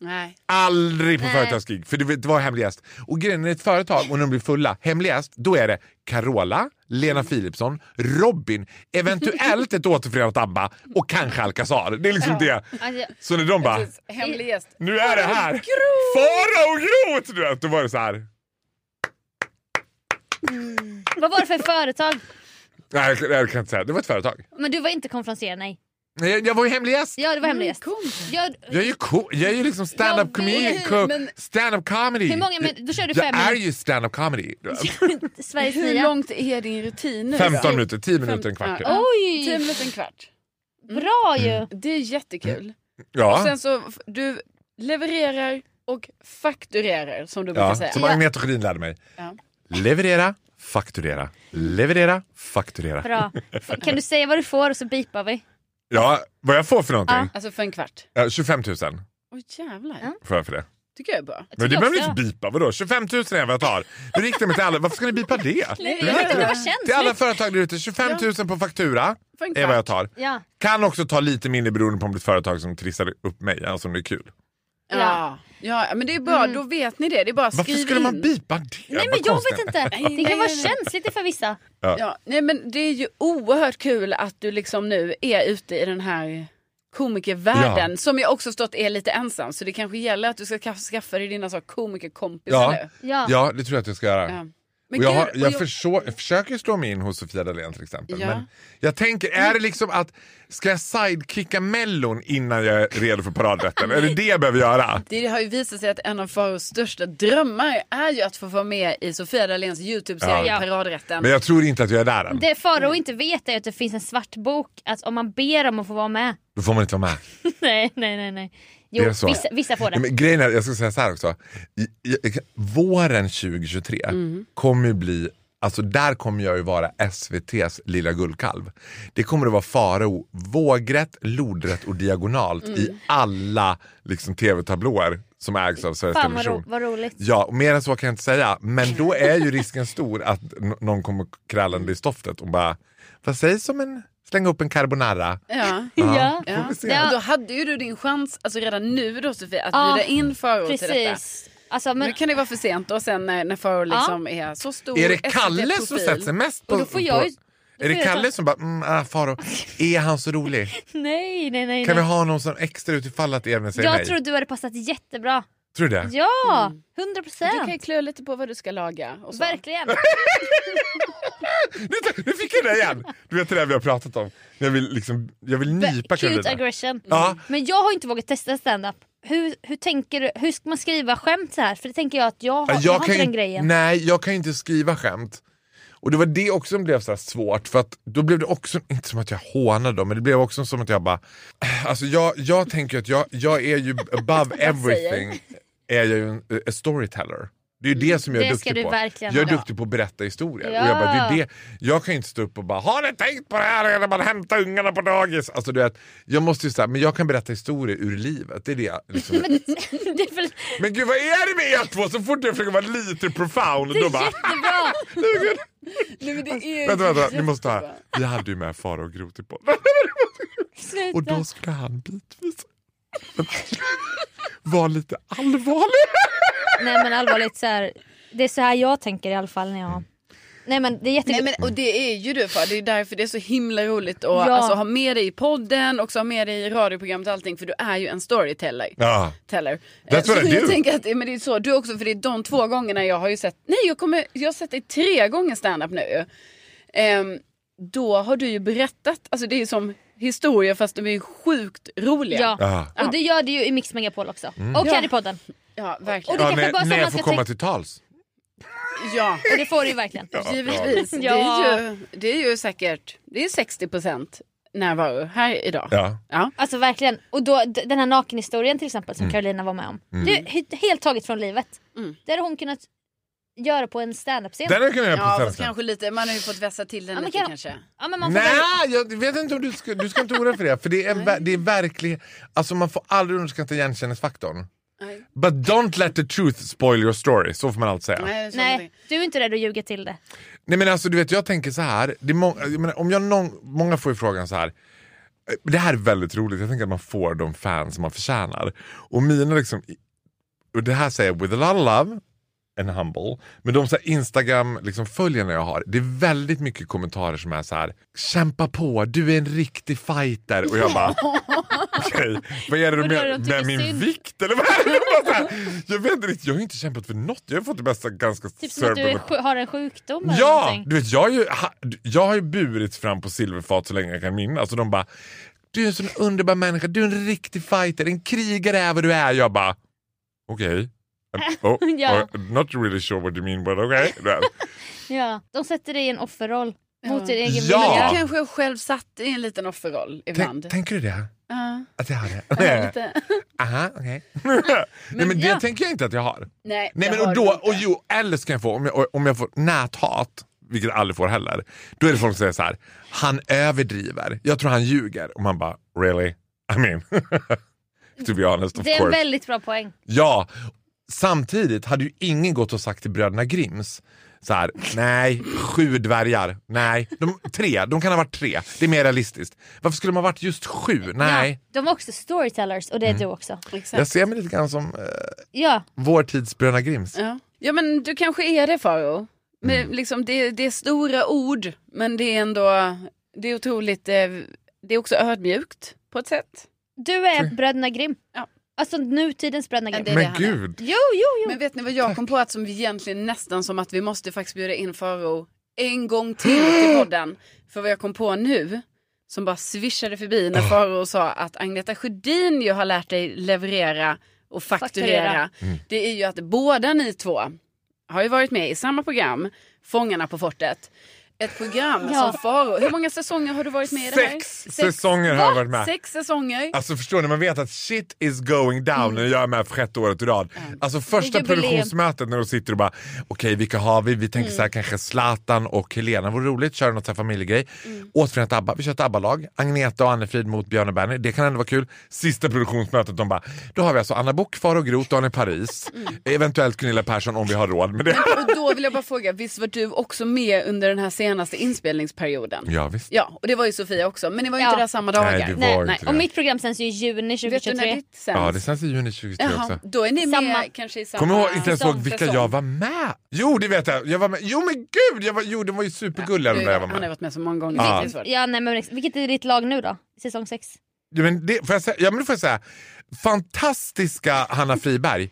B: Nej.
C: Aldrig på
A: Nej.
C: företagsgig, för det, det var hemlig gäst. Och grejen är ett företag och när de blir fulla, hemlig gäst, då är det Carola, Lena Philipsson, Robin, eventuellt ett återförenat ABBA och kanske Alcazar. Det är liksom det.
A: Alltså,
C: Så när de bara,
B: Precis, Hemlig gäst.
C: nu är det här! Farao Groth! Du vet, Då var det så här.
A: vad var det för företag?
C: Nej, jag, kan- jag kan inte säga. Det var ett företag.
A: Men du var inte konferenserare, nej.
C: Nej, Jag, jag var ju hemlig gäst.
A: Ja, det var hemlig gäst.
B: Kom.
A: Jag,
C: Jag är ju, co- jag är ju liksom stand-up
A: Jag vet,
C: comedy.
B: men-
C: Stand-up comedy.
A: Hur många min- då kör du
C: jag
A: fem
C: är
A: minuter.
C: ju stand-up comedy. du vet.
A: Sveriges
B: Hur
A: nya.
B: långt är din rutin nu
C: 15
B: då?
C: minuter, 10 minuter, en kvart.
B: Ja. Tio
A: Oj,
B: minuter, en kvart.
A: bra ju.
B: Det är jättekul.
C: Ja.
B: Och sen så, f- du levererar och fakturerar som du brukar
C: Ja,
B: säga.
C: som Agneta Sjödin lärde mig.
B: Ja.
C: Leverera, fakturera, leverera, fakturera.
A: Bra. F- Kan du säga vad du får och så bipar vi?
C: Ja, vad jag får för någonting?
B: Alltså för en kvart.
C: Ja, 25 000
B: Åh jävlar.
A: Ja.
C: får jag för det.
B: tycker jag är bra.
C: Men det
A: jag
C: behöver ni
A: också.
C: inte bipa, vadå? 25 000 är vad jag tar. Nu riktar jag mig till alla, varför ska ni bipa det?
A: Nej, jag vet inte, det var
C: Till alla
A: känsligt.
C: företag där ute, 25 000 på faktura
B: För en
C: är vad jag
B: kvart.
C: tar.
A: Ja.
C: Kan också ta lite mindre beroende på om det är ett företag som trissar upp mig, alltså om det är kul.
B: Ja. ja, men det är bra.
A: Mm.
B: Då vet ni det. Det är bara att
C: Varför
B: skriva
C: skulle man
B: in.
C: bipa det?
A: Nej
C: Vad
A: men jag
C: konstigt.
A: vet inte.
B: Nej,
A: Det
B: nej,
A: kan vara
B: nej, nej.
A: känsligt för vissa.
B: Ja, nej men det är ju oerhört kul att du liksom nu är ute i den här komikervärlden som jag också förstått är lite ensam så det kanske gäller att du ska ka- skaffa dig dina så komikerkompisar
C: Ja.
B: nu.
A: Ja.
C: Ja, det tror jag att jag ska göra.
B: Ja.
C: Och jag, har,
B: gud, och
C: jag, förså, jag försöker slå mig in hos Sofia Dalén till exempel.
B: Ja.
C: Men jag tänker, är det liksom att ska jag sidekicka Mellon innan jag är redo för paradrätten? är det det jag behöver göra?
B: det har ju visat sig att en av Faros största drömmar är ju att få vara med i Sofia Dahléns YouTube-serie
A: Ja.
B: Paradrätten.
C: Men jag tror inte att jag är där än.
A: Det Farao inte vet är att det finns en svart bok. Att om man ber om att få vara med.
C: Då får man inte vara med.
A: nej, nej, nej. nej. Jo,
C: Det är så.
A: vissa, vissa får
C: Ja,
A: det.
C: men grejen är, jag ska säga så här också. I- i- Våren 2023
A: Mm.
C: kommer ju bli, alltså där kommer jag ju vara SVTs lilla guldkalv. Det kommer att vara Farao vågrätt, lodrätt och diagonalt
A: Mm.
C: i alla liksom, tv-tablåer som ägs av Sveriges
A: Fan vad,
C: Television.
A: ro, vad roligt.
C: Ja, och mer än så kan jag inte säga. Men då är ju risken stor att n- någon kommer krallande i stoftet och bara, vad sägs om en, slänga upp en carbonara?
B: Ja.
A: Ja.
C: får vi se.
A: Ja.
B: Och då hade ju du din chans, alltså redan nu då Sofia, att
A: Ja,
B: bjuda in Faro till detta.
A: Precis. Alltså,
B: Men
A: men,
B: nu kan det vara för sent då sen när, när Faro liksom är så stor
C: Är det Kalle som
B: SVT-profil.
C: sätter sig mest på...
A: Och då får jag
C: på
A: ju- då
C: är det
A: får jag
C: Kalle
A: ta-
C: som bara, mm, ah, Faro, är han så rolig?
A: nej, nej, nej.
C: Kan vi
A: nej.
C: ha någon som extra ut ifall att Evne säger
A: Jag
C: nej?
A: tror du hade passat jättebra.
C: Tror du det?
A: Ja, hundra
B: Mm. Du kan ju
A: procent.
B: klura lite på vad du ska laga. Och så.
A: Verkligen.
C: Nu, nu fick jag det igen! Du vet det där vi har pratat om. Jag vill, liksom, jag vill nypa
A: Cute
C: Karolina.
A: aggression.
C: Ja.
A: Men jag har inte vågat testa stand-up. Hur, hur, tänker, du- hur ska man skriva skämt så här? För det tänker jag att jag har, jag har
C: kan
A: inte
C: ju-
A: den grejen.
C: Nej, jag kan ju inte skriva skämt. Och det var det också som blev så här svårt för att då blev det också, inte som att jag hånade dem, men det blev också som att jag bara, alltså jag, jag tänker att jag, jag är ju above everything, är jag ju en a storyteller. Det är ju det som jag är
A: Det ska
C: duktig
A: du
C: på.
A: verkligen
C: jag är
A: vara.
C: duktig på att berätta historier.
A: Ja.
C: Och jag, bara, det är det. jag kan ju inte stå upp och bara, har ni tänkt på det här när man hämtar ungarna på dagis? Alltså du vet, jag måste ju säga, men jag kan berätta historier ur livet. Det är det jag liksom,
A: det är väl
C: men gud vad är det med er två? Så fort jag försöker vara lite profound
A: det är
C: då bara... "Ah,
A: jättebra.
B: Nej, men det är
C: Vänta, vänta,
B: jättebra.
C: ni måste ha. Vi hade ju med Farao Groth i podden.
A: Sluta.
C: Och då skulle han bitvis vara lite allvarlig.
A: Nej men allvarligt så här, det är så här jag tänker i alla fall när jag... Nej men det är
B: Nej,
A: jättekul.
B: men, och det är ju du för. Det är därför det är så himla roligt att
A: Ja.
B: alltså, ha med dig i podden och ha med dig i radioprogrammet och allting. För du är ju en storyteller.
C: Ja.
B: Teller.
C: That's
B: Eh, så
C: what I do.
B: jag tänker att eh, men det är så, du också, för det är de två gångerna jag har ju sett, nej jag, kommer, jag har sett dig tre gånger stand-up nu. Ehm, då har du ju berättat, alltså det är ju som historia fast de är ju sjukt roliga.
A: Ja.
C: Ja.
A: Och du gör det ju i Mix Megapol också. Och
C: Mm.
B: Ja.
A: här i podden.
B: Ja,
A: Och
B: verkligen.
A: det
C: Ja,
A: kanske bara
C: när,
A: som
C: när
A: man
C: jag får
A: ska
C: komma
A: tänk-
C: till tals.
B: Ja.
A: Och det får du ju verkligen.
C: Ja,
B: Givetvis.
A: Ja.
B: Det, är ju, det är ju säkert det är 60 procent närvaro här idag. Ja.
C: Ja.
A: Alltså verkligen. Och då, d- den här
C: Mm.
A: nakenhistorien till exempel som Carolina var med om. Det är ju he- helt taget från livet.
B: Mm.
A: Där har hon kunnat göra på en standup-scen.
C: Den hade jag kunnat göra på
B: Ja, fast
C: svenska.
B: kanske lite. Man har ju fått vässa till den
A: Ja, men
B: lite
A: kan-
B: kanske.
A: Ja, men man får
C: Nej,
A: väl...
C: jag vet inte om du ska, du ska inte oroa dig för det. För det är, en, ver- det är verklig, alltså man får aldrig underskatta igenkänningsfaktorn.
B: Nej.
C: But don't let the truth spoil your story, så får man alltid säga. Nej.
B: Nej, så
A: Nej, du är inte rädd att ljuga till det.
C: men alltså du vet, jag tänker så här, det är må- jag menar, om jag någon, många får ju frågan så här, eh, det här är väldigt roligt, jag tänker att man får de fans man förtjänar. Och mina liksom, och det här säger jag with a lot of love and humble, men de så här Instagram liksom följarna jag har, det är väldigt mycket kommentarer som är så här, kämpa på, du är en riktig fighter och jag bara okej, vad är det du
A: Och då är
C: menar?
A: de tycker
C: Med min
A: synd.
C: vikt eller vad är det? Jag, bara så här, jag vet inte riktigt, jag har ju inte kämpat för något, jag har fått det bästa ganska
A: Typ som att du är,
C: sörpligt.
A: sj- har en sjukdom eller
C: Ja!
A: någonting.
C: Du vet, jag, är ju, ha, jag har ju burits fram på silverfat så länge jag kan minnas och de bara Du är en sån underbar människa, du är en riktig fighter, en krigare är vad du är. Jag bara okej. Oh,
A: Ja.
C: oh, not really sure what you mean but okay.
A: Ja. De sätter dig i en offerroll mot din egen
C: Ja.
A: vilja.
B: Jag kanske själv satt i en liten offerroll ibland.
C: Tänk, tänker du det?
B: Ja,
C: Att jag har det?
B: lite.
C: Aha, okej. Nej men det
A: ja.
C: tänker jag inte att jag har.
B: Nej,
C: Nej
B: det
C: men och
B: har
C: då,
B: du
C: och
B: inte.
C: jo, eller ska jag få, om jag, om jag får näthat, vilket jag aldrig får heller, då är det folk som säger så här, han överdriver, jag tror han ljuger. Och man bara, really? I mean, to be honest of
A: Det är en
C: course.
A: väldigt bra poäng.
C: Ja, samtidigt hade ju ingen gått och sagt till bröderna Grimms så här, nej, sju dvärgar, nej, de, tre, de kan ha varit tre, det är mer realistiskt. Varför skulle man ha varit just sju? Nej. Mm.
A: Ja, de var också storytellers och det är du också.
B: Exakt.
C: Jag ser mig lite grann som eh,
A: Ja,
C: vår tids bröderna Grimms.
B: Ja. ja, men du kanske är det Faro. Men
C: Mm.
B: liksom, det, det är stora ord, men det är ändå, det är otroligt, eh, det är också ödmjukt på ett sätt.
A: du är Bröderna Grimm.
B: Ja.
A: Alltså nutidens Bröderna
B: Ja,
A: Grimm.
B: det är
C: Men
B: han är.
C: gud.
A: Jo, jo, jo.
B: Men vet ni vad jag kom på att som vi egentligen nästan som att vi måste faktiskt bjuda in Faro en gång till till podden. För vad jag kom på nu, som bara svischade förbi
A: Ah.
B: när Faro sa att Agneta Sjödin ju har lärt dig leverera och fakturera.
A: Fakturera.
C: Mm.
B: Det är ju att båda ni två har ju varit med i samma program, Fångarna på fortet. Ett program
A: Ja.
B: som Faro, hur många säsonger har du varit med i det här?
C: Sex, säsonger har jag varit med.
B: Sex säsonger.
C: Alltså förstår ni, man vet att shit is going down när jag är med för sjätte året i rad. Alltså
A: Det är
C: första
A: jubileum.
C: produktionsmötet när de sitter och bara okej vilka har vi? Vi tänker så här kanske Zlatan och Helena vore roligt, köra något så här familjegrej. Återförenat ABBA, vi kör ett ABBA-lag. Agneta och Annefrid mot Björn och Benny, det kan ändå vara kul. Sista produktionsmötet de bara, då har vi alltså Anna Book, Faro Groth, Daniel Paris, eventuellt Gunilla Persson om vi har råd med det.
B: Och då vill jag bara fråga, visst var du också med under den här senaste inspelningsperioden?
C: ja visst.
B: Ja, och det var ju Sofia också, men det var ju
A: Ja.
B: inte där samma dagar.
C: Nej, det var
A: Nej,
C: inte
B: nej.
C: det.
A: Och mitt program sänds ju i juni
B: Vet du när
A: 2023.
B: ditt sänds?
C: Ja det sänds i juni 2023 också.
B: Jaha, då är ni
A: Samma.
B: med kanske i samma...
C: Kommer ihåg, inte ens
B: säsong,
C: ihåg vilka
B: säsong.
C: jag var med. Jo, det vet jag. jag var med. Jo men gud, jag var, jo, de var ju supergulliga de
B: Du,
C: där jag var
B: Han har
C: med.
B: varit med så många gånger.
C: Ja.
B: Det är svårt.
A: Ja, nej, men, vilket är ditt lag nu då? Säsong 6?
C: Ja, men det, får jag säga, ja, men det får jag säga. Fantastiska Hanna Friberg.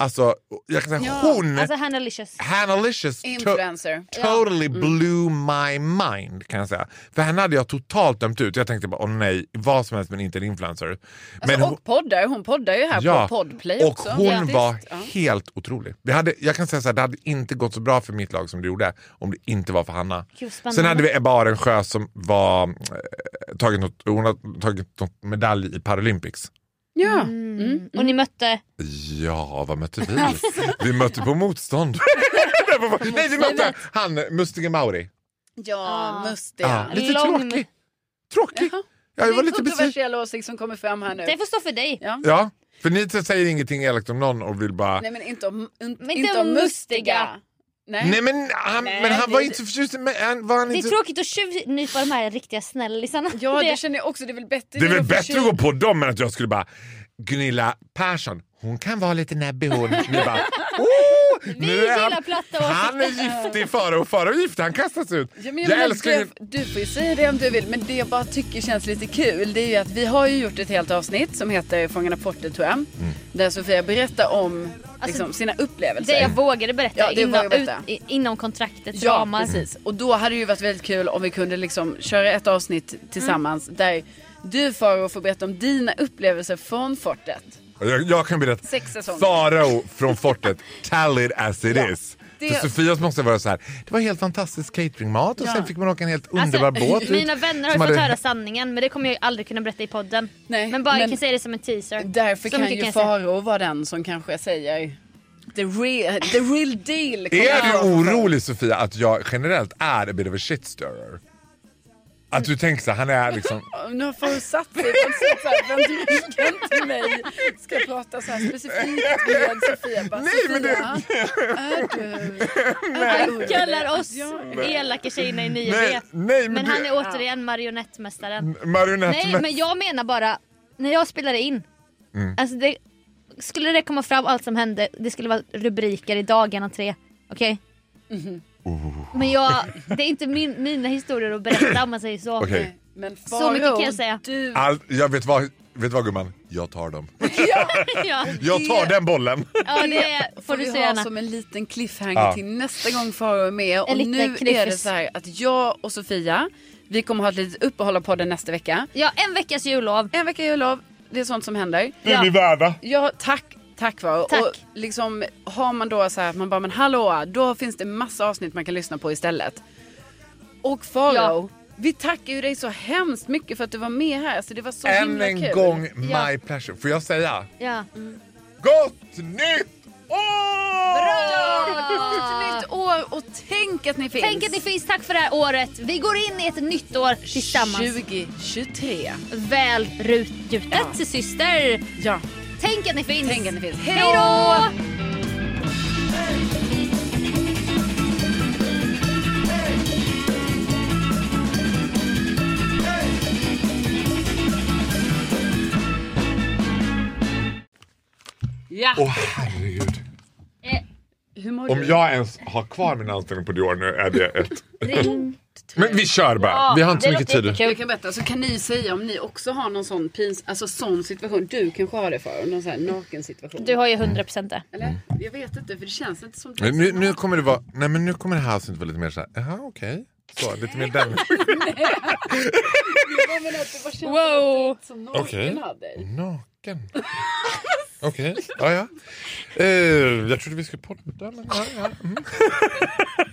C: Alltså, jag kan säga
B: Ja,
C: hon,
A: Alltså Hannah Licious.
C: Hanna Licious, to-
B: Influencer. Mm.
C: totally blew my mind kan jag säga. För henne hade jag totalt dömt ut. Jag tänkte bara, åh nej, vad som helst men inte en influencer. Men
B: Alltså, och poddar, hon poddar ju här på Podplay
C: och
B: också.
C: hon
B: faktiskt.
C: var
B: Ja.
C: helt otrolig. Vi hade, jag kan säga så här, det hade inte gått så bra för mitt lag som det gjorde om det inte var för Hanna.
A: Gud, spännande.
C: Sen hade vi Ebba Arensjö som var, eh, tagit något, hon har tagit något medalj i Paralympics.
B: Ja.
A: Mm.
B: mm.
A: Och ni mötte...
C: Ja, vad mötte vi? vi mötte på motstånd. Det var- Nej, vi mötte han Mustiga Mauri.
B: ja,
A: Ah.
B: Mustiga.
C: Ja, lite
A: Lång-
C: tråkig. Tråkig.
B: Jaha.
C: Ja, jag var
B: det är
C: lite
B: en
C: besviken.
B: kontroversiell åsikt som kommer fram här nu.
A: Det får stå för dig.
B: Ja.
C: Ja, för ni säger ingenting elakt om någon och vill bara...
B: Nej men inte om, inte,
A: Men
B: inte
A: det
B: om
A: var
B: Mustiga. Nej.
C: Nej, men han,
B: Nej,
C: men han
B: det-
C: var inte så förtjust i mig. Han- Var han
A: Det är
C: inte...
A: tråkigt att tjuvnypa de här riktiga snällisarna.
B: Ja det känner jag också, det är väl bättre
C: Det är
B: nu
C: väl
B: att
C: bättre att
B: försöka-
C: gå på dem än att jag skulle bara Gunilla Persson, hon kan vara lite näbbig hon. Ni bara, oh,
A: Vi
C: nu är
A: gillar
C: han,
A: platta
C: han är
A: åsikter.
C: giftig före och före och giftig, han kastas ut.
B: Ja, men
C: jag
B: jag menar,
C: älskar
B: du,
C: Gunilla-
B: du får ju säga det om du vill, men det jag bara tycker känns lite kul det är ju att vi har ju gjort ett helt avsnitt som heter Fångarna på fortet tror jag. Där Sofia berättar om liksom, sina upplevelser.
A: Alltså, Det jag vågade berätta
B: Ja, det
A: inom,
B: vågar berätta.
A: Ut, i- inom kontraktets
B: Ja,
A: ramar.
B: precis. Och då hade det ju varit väldigt kul om vi kunde liksom köra ett avsnitt
A: Mm.
B: tillsammans där du Faro får berätta om dina upplevelser från fortet.
C: Jag, jag kan berätta.
B: Sex säsonger.
C: Farao från fortet, tell it as it
B: Ja,
C: is.
B: det-
C: För Sofias måste vara så här, det var helt fantastisk cateringmat och
B: Ja.
C: sen fick man åka en helt
A: Alltså,
C: underbar båt ut
A: mina vänner har ju
C: som
A: fått
C: hade-
A: höra sanningen men det kommer jag ju aldrig kunna berätta i podden.
B: Nej,
A: men bara
B: men-
A: jag kan säga det som en teaser.
B: Därför
A: Så
B: kan
A: mycket
B: ju
A: jag säga.
B: Faro vara den som kanske säger the real, the real deal. kommer
C: Är du
B: fram.
C: orolig Sofia att jag generellt är a bit of a shitstirrer? Att du tänker så här, han är liksom...
B: Nu har folk satt sig på ett sätt såhär, vem till mig ska prata så här specifikt med Sofia. Bara,
C: Nej,
B: Sofia,
C: men
B: Är du...
A: Han kallar oss
B: Ja.
A: elaka tjejerna i Nya
C: Nej,
A: vet.
C: nej
A: Men
C: men,
A: han är
C: du...
A: återigen marionettmästaren.
C: Marionett...
A: Nej
C: men-
A: men jag menar bara, när jag spelade in.
C: Mm.
A: Alltså det, skulle det komma fram allt som hände, det skulle vara rubriker i dagarna tre. Okej?
B: Mhm.
C: Oh.
A: Men jag, det är inte min, mina historier att berätta om man säger så.
C: Okej.
B: Nej, Men Faro,
A: Så mycket kan jag säga.
B: Du,
C: Allt- jag vet vad, vet vad gumman? Jag tar dem.
A: Ja,
C: Jag tar
B: Det-
C: den bollen.
A: ja det får du
B: vi
A: så
B: ha
A: gärna.
B: som en liten cliffhanger
C: Ja.
B: till nästa gång Faro är med. Och
A: liten
B: nu är det
A: kniffis.
B: så här att jag och Sofia, vi kommer ha ett litet uppehåll av podden nästa vecka.
A: Ja en veckas jullov.
B: En vecka jullov, det är sånt som händer.
C: Det är vi värda.
B: Ja, tack. Tack Faro.
A: Tack.
B: Och liksom, har man då så här att man bara, men hallå, då finns det massa avsnitt man kan lyssna på istället. Och Faro,
A: Ja.
B: vi tackar ju dig så hemskt mycket för att du var med här. Alltså, det var så
C: Än
B: himla
C: en
B: kul.
C: gång my
A: Ja.
C: pleasure. Får jag säga?
A: Ja.
C: Gott nytt år!
B: Ett nytt år och tänk att ni finns.
A: Tänk att ni finns, tack för det här året. Vi går in i ett nytt år tillsammans.
B: 2023.
A: Väl rutgjutet syster.
B: Ja,
A: Tänk att ni finns.
B: tänk att ni finns.
A: Hej då!
B: Ja.
C: Åh herregud.
B: Hur mår
C: Om
B: du?
C: jag ens har kvar min anställning på Dior nu är det ett...
A: Ring.
C: Men vi kör bara. vi har inte så
A: det
C: mycket
A: låter
C: tid.
B: Jag kan berätta, så kan ni säga om ni också har någon sån pins, alltså sån situation. Du kanske har det för någon sån här naken situation.
A: Du har ju 100% det.
B: Eller? Jag vet inte för det känns inte som
C: Mm. Men Nu, nu kommer det vara... Nej men nu kommer det här avsnittet vara lite mer såhär, jaha okej. Så, lite mer den.
B: Jag menar att det bara känns
A: Wow.
B: som naken
C: Okej.
B: hade dig.
C: Naken. Okej, ja ja. Eh, jag trodde vi skulle podda men ja, ja. Mm.